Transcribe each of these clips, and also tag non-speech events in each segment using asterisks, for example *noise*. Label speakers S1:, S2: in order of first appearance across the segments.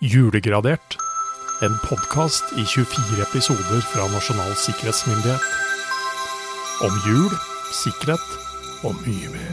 S1: Julegradert. En podkast i 24 episoder fra Nasjonal sikkerhetsmyndighet. Om jul, sikkerhet og mye mer.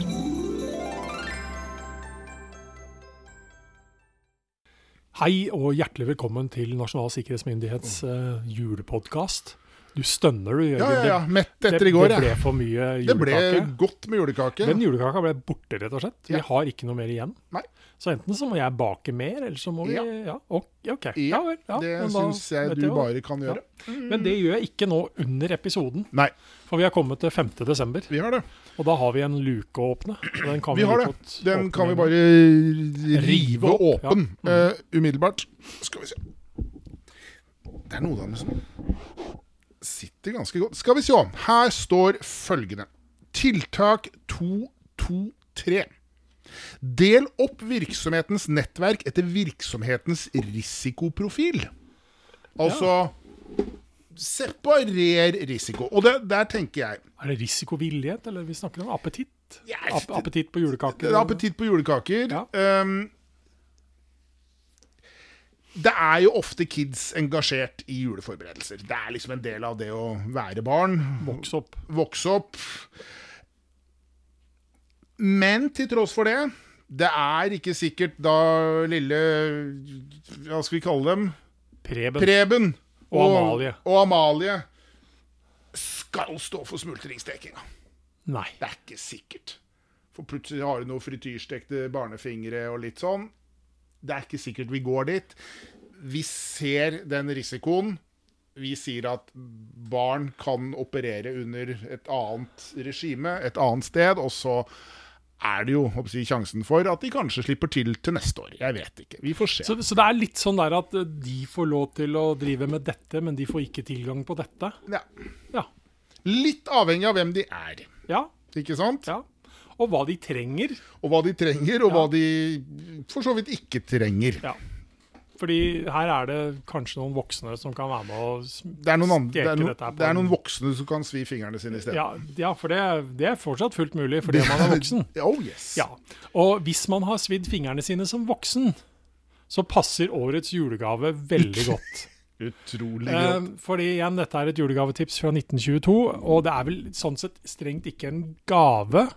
S1: Hei og hjertelig velkommen til Nasjonal sikkerhetsmyndighets eh, julepodkast. Du stønner, du.
S2: Ja, ja,
S1: Jørgen.
S2: ja. Mett
S1: Det,
S2: etter i går,
S1: det ble
S2: ja.
S1: for mye
S2: Det ble
S1: julekake.
S2: godt med julekake.
S1: Den julekaka ble borte, rett og slett. Vi
S2: Ja.
S1: har ikke noe mer igjen.
S2: Nei.
S1: Så enten så må jeg bake mer, eller så må vi Ja,
S2: Ja.
S1: ok. ok.
S2: Ja,
S1: vel, ja,
S2: det
S1: men da
S2: syns jeg
S1: vet
S2: du
S1: hva.
S2: bare kan gjøre.
S1: Men det gjør jeg ikke nå under episoden,
S2: Nei,
S1: for vi har kommet til 5. desember.
S2: vi har det.
S1: Og da har vi en luke å åpne. og Den kan
S2: Vi har
S1: like
S2: det.
S1: godt
S2: Den
S1: åpne
S2: kan vi
S1: med.
S2: bare
S1: Rive
S2: rive
S1: opp, ja. Mm.
S2: åpen eh, umiddelbart. Skal vi se Det er noen av dem som sitter ganske godt. Skal vi se. Her står følgende. Tiltak 223. Del opp virksomhetens nettverk etter virksomhetens risikoprofil. Altså separer risiko. Og det, der tenker jeg
S1: Er det risikovillighet, eller vi snakker om appetitt?
S2: Jeg-
S1: Ap appetitt på julekake?
S2: Det er appetitt på julekaker.
S1: Ja.
S2: Ehm, det er jo ofte kids engasjert i juleforberedelser. Det er liksom en del av det å være barn,
S1: Vokse opp.
S2: vokse opp. Men til tross for det, det er ikke sikkert da lille Hva skal vi kalle dem?
S1: Preben.
S2: Preben
S1: Og Amalie.
S2: og Amalie skal stå for smultringstekinga.
S1: Nei.
S2: Det er ikke sikkert. For plutselig har du noen frityrstekte barnefingre og litt sånn. Det er ikke sikkert vi går dit. Vi ser den risikoen. Vi sier at barn kan operere under et annet regime, et annet sted, og så er det jo håper jeg, å si, sjansen for at de kanskje slipper til til neste år. Jeg vet ikke. Vi får se.
S1: Så, så det er litt sånn der at eh, de får lov til å drive med dette, men de får ikke tilgang på dette?
S2: Ja.
S1: Ja.
S2: Litt avhengig av hvem de er,
S1: Ja.
S2: ikke sant?
S1: ja. Og hva de trenger.
S2: Og hva de trenger, og hva de for så vidt ikke trenger.
S1: Ja. Fordi her er det kanskje noen voksne som kan være med og sm-
S2: Det er noen, andre, det
S1: Steker
S2: er noen,
S1: dette her på
S2: det er noen
S1: en-
S2: voksne som kan svi fingrene sine i stedet.
S1: Ja, ja for det, det er fortsatt fullt mulig fordi man er voksen.
S2: Oh yes.
S1: Ja. Og hvis man har svidd fingrene sine som voksen, så passer årets julegave veldig godt.
S2: Utrolig
S1: Eh,
S2: grått.
S1: fordi igjen, dette er et julegavetips fra 1922, og det er vel sånn sett strengt ikke en gave.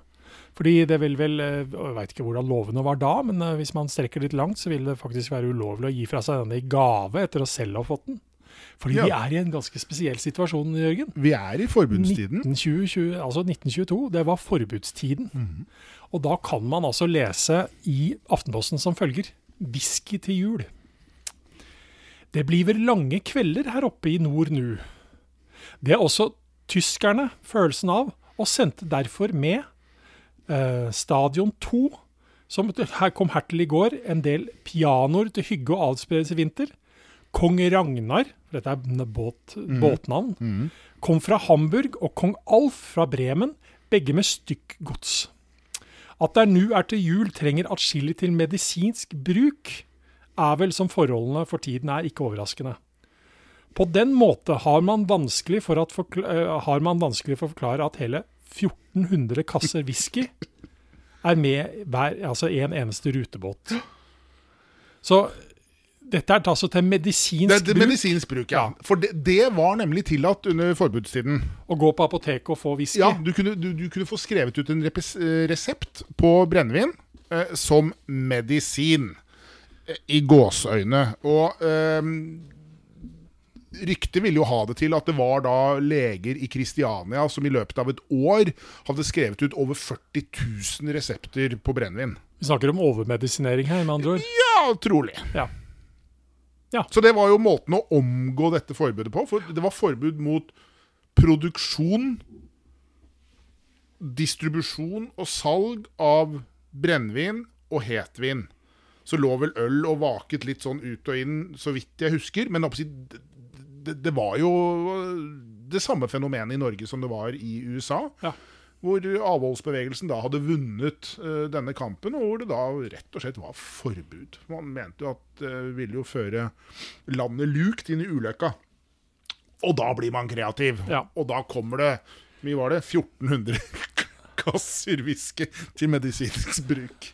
S1: Fordi det vil vel eh, Jeg veit ikke hvordan lovene var da, men eh, hvis man strekker litt langt, så vil det faktisk være ulovlig å gi fra seg denne i gave etter å selv ha fått den. Fordi vi
S2: Ja.
S1: er i en ganske spesiell situasjon, Jørgen.
S2: Vi er i forbundstiden.
S1: 1920, altså 1922, det var forbudstiden. Og da kan man altså lese i Aftenposten som følger Whisky til jul. Det blir vel lange kvelder her oppe i nord nu. Det er også tyskerne følelsen av, og sendte derfor med eh, Stadion 2, som her kom hertil i går, en del pianoer til hygge og avspredelse i vinter. Kong Ragnar, for dette er båt, båtnavn, kom fra Hamburg og kong Alf fra Bremen, begge med stykkgods. At der nu er til jul trenger atskillig til medisinsk bruk, er vel som forholdene for tiden er ikke overraskende. På den måte har man vanskelig for, at forkl- eh, har man vanskelig for å forklare at hele 1400 kasser whisky er med hver, altså en eneste rutebåt. Så dette er altså til
S2: Det,
S1: medisinsk
S2: det,
S1: bruk.
S2: medisinsk bruk, ja. For det, det var nemlig tillatt under forbudstiden.
S1: Å gå på apoteket og få whisky.
S2: Ja, du kunne, du, du kunne få skrevet ut en repes- eh, resept på brennevin eh, som medisin. Eh, I gåseøyne. Og eh, ryktet ville jo ha det til at det var da leger i Kristiania som i løpet av et år hadde skrevet ut over 40 000 resepter på brennevin.
S1: Vi snakker om overmedisinering her, med andre ord.
S2: Ja, trolig.
S1: Ja.
S2: Så det var jo måten å omgå dette forbudet på. For det var forbud mot produksjon, distribusjon og salg av brennevin og hetvin. Så lå vel øl og vaket litt sånn ut og inn, så vidt jeg husker. Men oppsi- det, det, det var jo det samme fenomenet i Norge som det var i USA.
S1: Ja.
S2: Hvor avholdsbevegelsen da hadde vunnet eh, denne kampen, og hvor det da rett og slett var forbud. Man mente jo at det ville jo føre landet lukt inn i ulykka. Og da blir man kreativ.
S1: Ja.
S2: Og da kommer det Hvor mye var det? *laughs* 1400 kasser whisky til medisinsk bruk.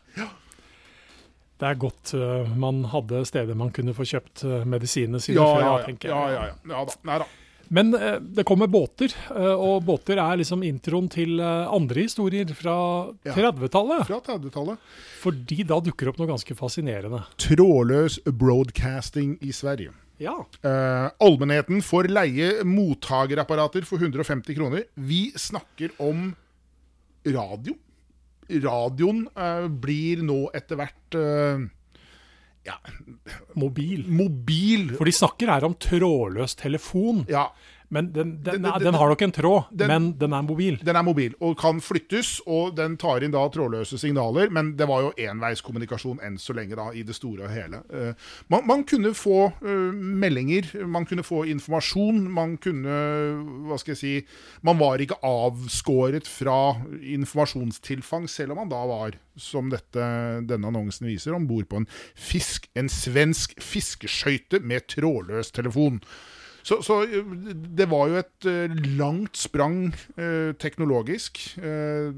S1: Det er godt eh, man hadde steder man kunne få kjøpt eh, medisinene sine
S2: Ja,
S1: fra,
S2: ja, ja.
S1: tenker jeg.
S2: ja, ja, ja. ja da. Nei da.
S1: Men eh, det kommer båter, eh, og båter er liksom introen til eh, andre historier fra
S2: Ja.
S1: 30-tallet.
S2: Fra 30-tallet.
S1: Fordi da dukker det opp noe ganske fascinerende.
S2: Trådløs broadcasting i Sverige.
S1: Ja.
S2: Eh, allmennheten får leie mottagerapparater for 150 kroner. Vi snakker om radio. Radioen eh, blir nå etter hvert eh, ja,
S1: Mobil.
S2: mobil.
S1: For de snakker her om trådløs telefon.
S2: Ja,
S1: Men den, den,
S2: Den-
S1: er-
S2: den-
S1: den har nok en tråd,
S2: den-
S1: men den er mobil.
S2: den er mobil og kan flyttes, og den tar inn da trådløse signaler, men det var jo enveiskommunikasjon enn så lenge da, i det store og hele. Eh, Man, man kunne få eh, meldinger, man kunne få informasjon, man kunne, hva skal jeg si, man var ikke avskåret fra informasjonstilfang, selv om man da var, som dette, denne annonsen viser, ombord på en, fisk, en svensk fiskeskøyte med trådløs telefon. Så, så eh, det var jo et eh, langt sprang eh, teknologisk eh,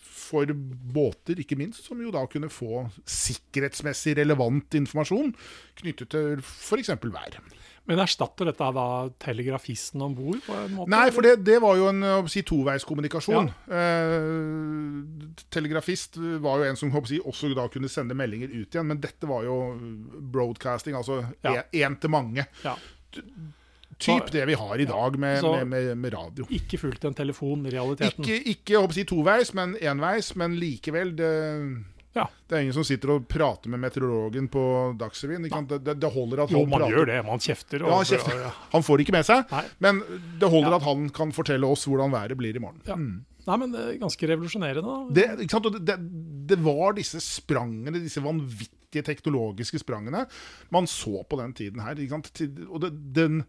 S2: for båter, ikke minst, som jo da kunne få sikkerhetsmessig relevant informasjon knyttet til f.eks. vær.
S1: Men erstatter dette da telegrafisten om bord, på en måte?
S2: Nei, for det, det var jo en eh, si, toveiskommunikasjon. Eh, telegrafist var jo en som håper, å si, også da kunne sende meldinger ut igjen, men dette var jo broadcasting, altså
S1: Ja.
S2: én til mange.
S1: Ja.
S2: Typ det vi har i dag med,
S1: Så-
S2: med, med, med radio.
S1: Ikke fulgt en telefon, i realiteten.
S2: Ikke, ikke jeg håper å si toveis, men enveis. Men likevel, det,
S1: Ja.
S2: det er ingen som sitter og prater med meteorologen på Dagsrevyen. ikke sant? Det, det, det holder at
S1: Jo,
S2: han
S1: Altså, man
S2: prater.
S1: gjør det. Man kjefter.
S2: Ja, han, kjefter.
S1: Ja.
S2: han får det ikke med seg,
S1: Nei.
S2: men det holder
S1: Ja.
S2: at han kan fortelle oss hvordan været blir i morgen. Mm.
S1: Ja. Nei, men det er ganske revolusjonerende. da.
S2: Det, ikke sant? Og det, det, det var disse sprangene, disse vanvittige teknologiske sprangene, man så på den tiden her. Ikke sant? Til- Og det, den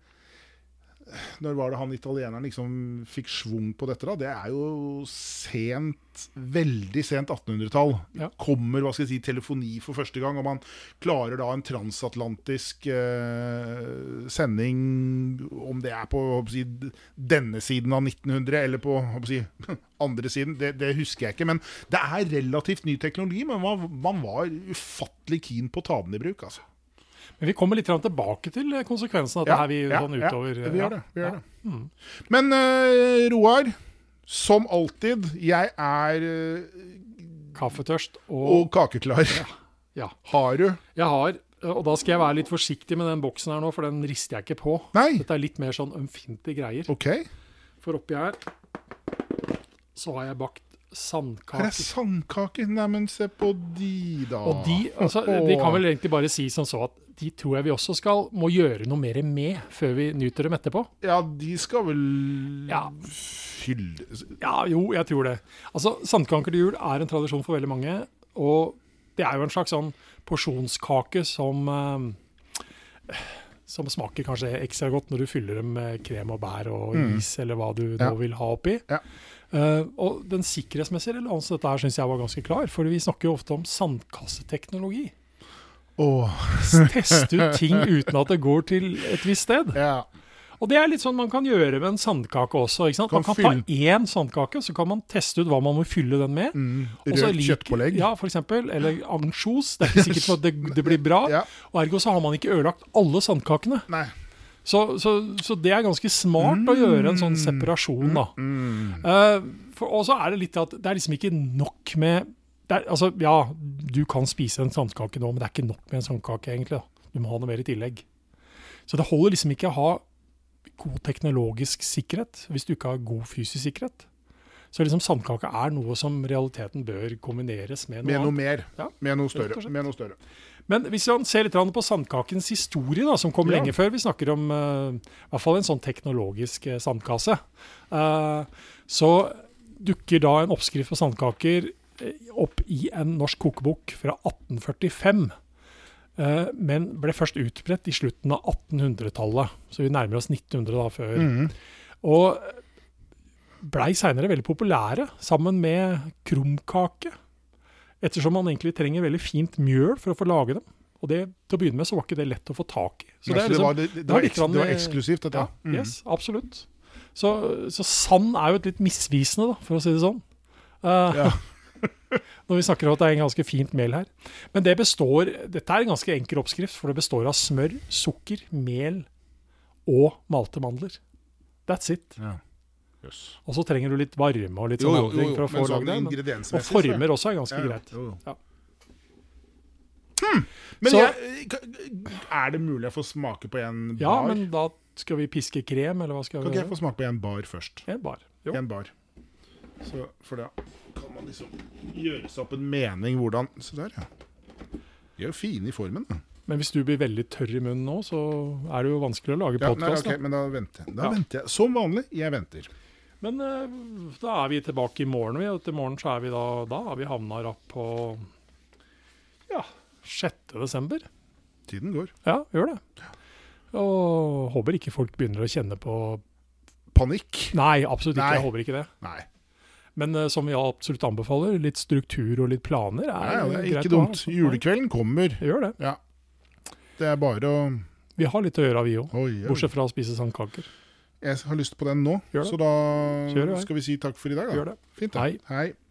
S2: Når var det han italieneren liksom fikk schwung på dette? da? Det er jo sent, veldig sent 1800-tall.
S1: Ja.
S2: Kommer hva skal jeg si, telefoni for første gang, og man klarer da en transatlantisk eh, sending, om det er på hva skal jeg si, denne siden av 1900 eller på hva skal jeg si, andre siden, det, det husker jeg ikke. Men det er relativt ny teknologi, men man, man var ufattelig keen på å ta den i bruk. altså.
S1: Men vi kommer litt grann tilbake til eh, konsekvensen av dette her vi sånn utover.
S2: Ja, vi gjør det. Vi
S1: ja. Mm.
S2: gjør det. Men eh, Roar, som alltid, jeg er eh,
S1: Kaffetørst og,
S2: og kakeklar.
S1: Ja.
S2: Har du?
S1: Jeg har, eh, og da skal jeg være litt forsiktig med den boksen her nå, for den rister jeg ikke på.
S2: Nei?
S1: Dette er litt mer sånn ømfintlige greier.
S2: OK.
S1: For oppi her så har jeg bakt
S2: Her er
S1: sandkaker.
S2: sandkaker. Neimen, se på de, da.
S1: Og de, altså, de kan vel egentlig bare si som så at de tror jeg vi også skal må gjøre noe mer med før vi nyter dem etterpå.
S2: Ja, de skal vel
S1: Ja.
S2: fylle
S1: Ja, jo, jeg tror det. Altså, Sandkanker til jul er en tradisjon for veldig mange. Og det er jo en slags sånn porsjonskake som eh, som smaker kanskje ekstra godt når du fyller dem med krem og bær og is, eller hva du
S2: Mm. Ja.
S1: nå vil ha oppi.
S2: Ja.
S1: Eh, og den sikkerhetsmessige relevansen dette her syns jeg var ganske klar, for vi snakker jo ofte om sandkasseteknologi.
S2: Åh,
S1: Teste ut ting uten at det går til et visst sted.
S2: ja.
S1: Og det er litt sånn man kan gjøre med en sandkake også. ikke sant?
S2: Kan
S1: Man kan
S2: fylle-
S1: ta én sandkake, så kan man teste ut hva man må fylle den med.
S2: Mm,
S1: Og så
S2: Rødt
S1: lik-
S2: kjøttpålegg.
S1: Ja, for eksempel. Eller ansjos. Det er ikke sikkert at det, det blir bra.
S2: Ja.
S1: Og ergo så har man ikke ødelagt alle sandkakene.
S2: Nei.
S1: Så, så, så det er ganske smart
S2: Mm.
S1: å gjøre en sånn separasjon, da. Eh, for, og så er det litt at det er liksom ikke nok med det er, Altså, ja, du kan spise en sandkake nå, men det er ikke nok med en sandkake, egentlig. da. Du må ha noe mer i tillegg. Så det holder liksom ikke å ha god teknologisk sikkerhet hvis du ikke har god fysisk sikkerhet. Så liksom sandkake er noe som realiteten bør kombineres med noe
S2: Med noe
S1: annet.
S2: mer.
S1: Ja,
S2: Med noe
S1: rett og
S2: større.
S1: slett.
S2: Med noe større.
S1: Men hvis man ser litt grann på sandkakens historie, da, som kom
S2: Ja.
S1: lenge før vi snakker om eh, i hvert fall en sånn teknologisk eh, sandkasse, eh, så dukker da en oppskrift på sandkaker eh, opp i en norsk kokebok fra 1845. eh, men ble først utbredt i slutten av 1800-tallet, så vi nærmer oss 1900 da før.
S2: Mhm.
S1: Og blei seinere veldig populære, sammen med krumkake. Ettersom man egentlig trenger veldig fint mjøl for å få lage dem. Og det, til å begynne med så var ikke det lett å få tak i. Så det er
S2: det,
S1: liksom,
S2: var, det, det,
S1: er
S2: var
S1: litt
S2: eks,
S1: grann-
S2: det var eksklusivt, dette.
S1: ja,
S2: Mm.
S1: yes, absolutt. Så, så sand er jo et litt misvisende, da, for å si det sånn. Eh,
S2: Ja.
S1: Når vi snakker om at det er en ganske fint mel her. Men det består, dette er en ganske enkel oppskrift, for det består av smør, sukker, mel og malte mandler. That's it.
S2: Ja. Jøss.
S1: Og så trenger du litt varme og litt
S2: Jo,
S1: sånn
S2: jo,
S1: andre ting
S2: jo,
S1: for å
S2: men
S1: få
S2: sånn
S1: lagd det. men-
S2: ingrediensmessig
S1: Og
S2: så er det-
S1: former også er ganske
S2: Ja, ja,
S1: greit.
S2: jo, jo.
S1: Ja.
S2: Men
S1: Så-
S2: jeg, er det mulig å få smake på en bar?
S1: ja, men da skal vi piske krem, eller hva skal
S2: Kan
S1: vi
S2: ikke jeg
S1: gjøre?
S2: få smake på en bar først?
S1: En bar. Jo.
S2: En bar. Så, for da kan man liksom gjøre seg opp en mening hvordan Se der, ja. De er jo fine i formen. Da.
S1: Men hvis du blir veldig tørr i munnen nå, så er det jo vanskelig å lage
S2: Ja, nei,
S1: podkast.
S2: ok, men da venter jeg. Da
S1: Ja.
S2: venter jeg. Som vanlig, jeg venter.
S1: Men eh, da er vi tilbake i morgen, vi, og til morgen så er vi da, da har vi havna rapp på ja, 6. desember.
S2: Tiden går.
S1: Ja, gjør det. Og håper ikke folk begynner å kjenne på
S2: Panikk?
S1: Nei, absolutt ikke.
S2: Nei.
S1: Jeg håper ikke det.
S2: Nei.
S1: Men eh, som vi absolutt anbefaler, litt struktur og litt planer er,
S2: nei det er
S1: greit å
S2: ikke
S1: ha,
S2: dumt.
S1: altså.
S2: Julekvelden kommer.
S1: Nei, Gjør det.
S2: Ja. Det er bare å
S1: Vi har litt å gjøre, vi òg.
S2: Oi, oi.
S1: Bortsett fra å spise sånn sandkaker.
S2: Jeg har lyst på den nå,
S1: Gjør det.
S2: så da
S1: Kjør i vei.
S2: skal vi si takk for i dag. Da.
S1: Gjør det.
S2: Fint, da.
S1: Hei.
S2: Hei.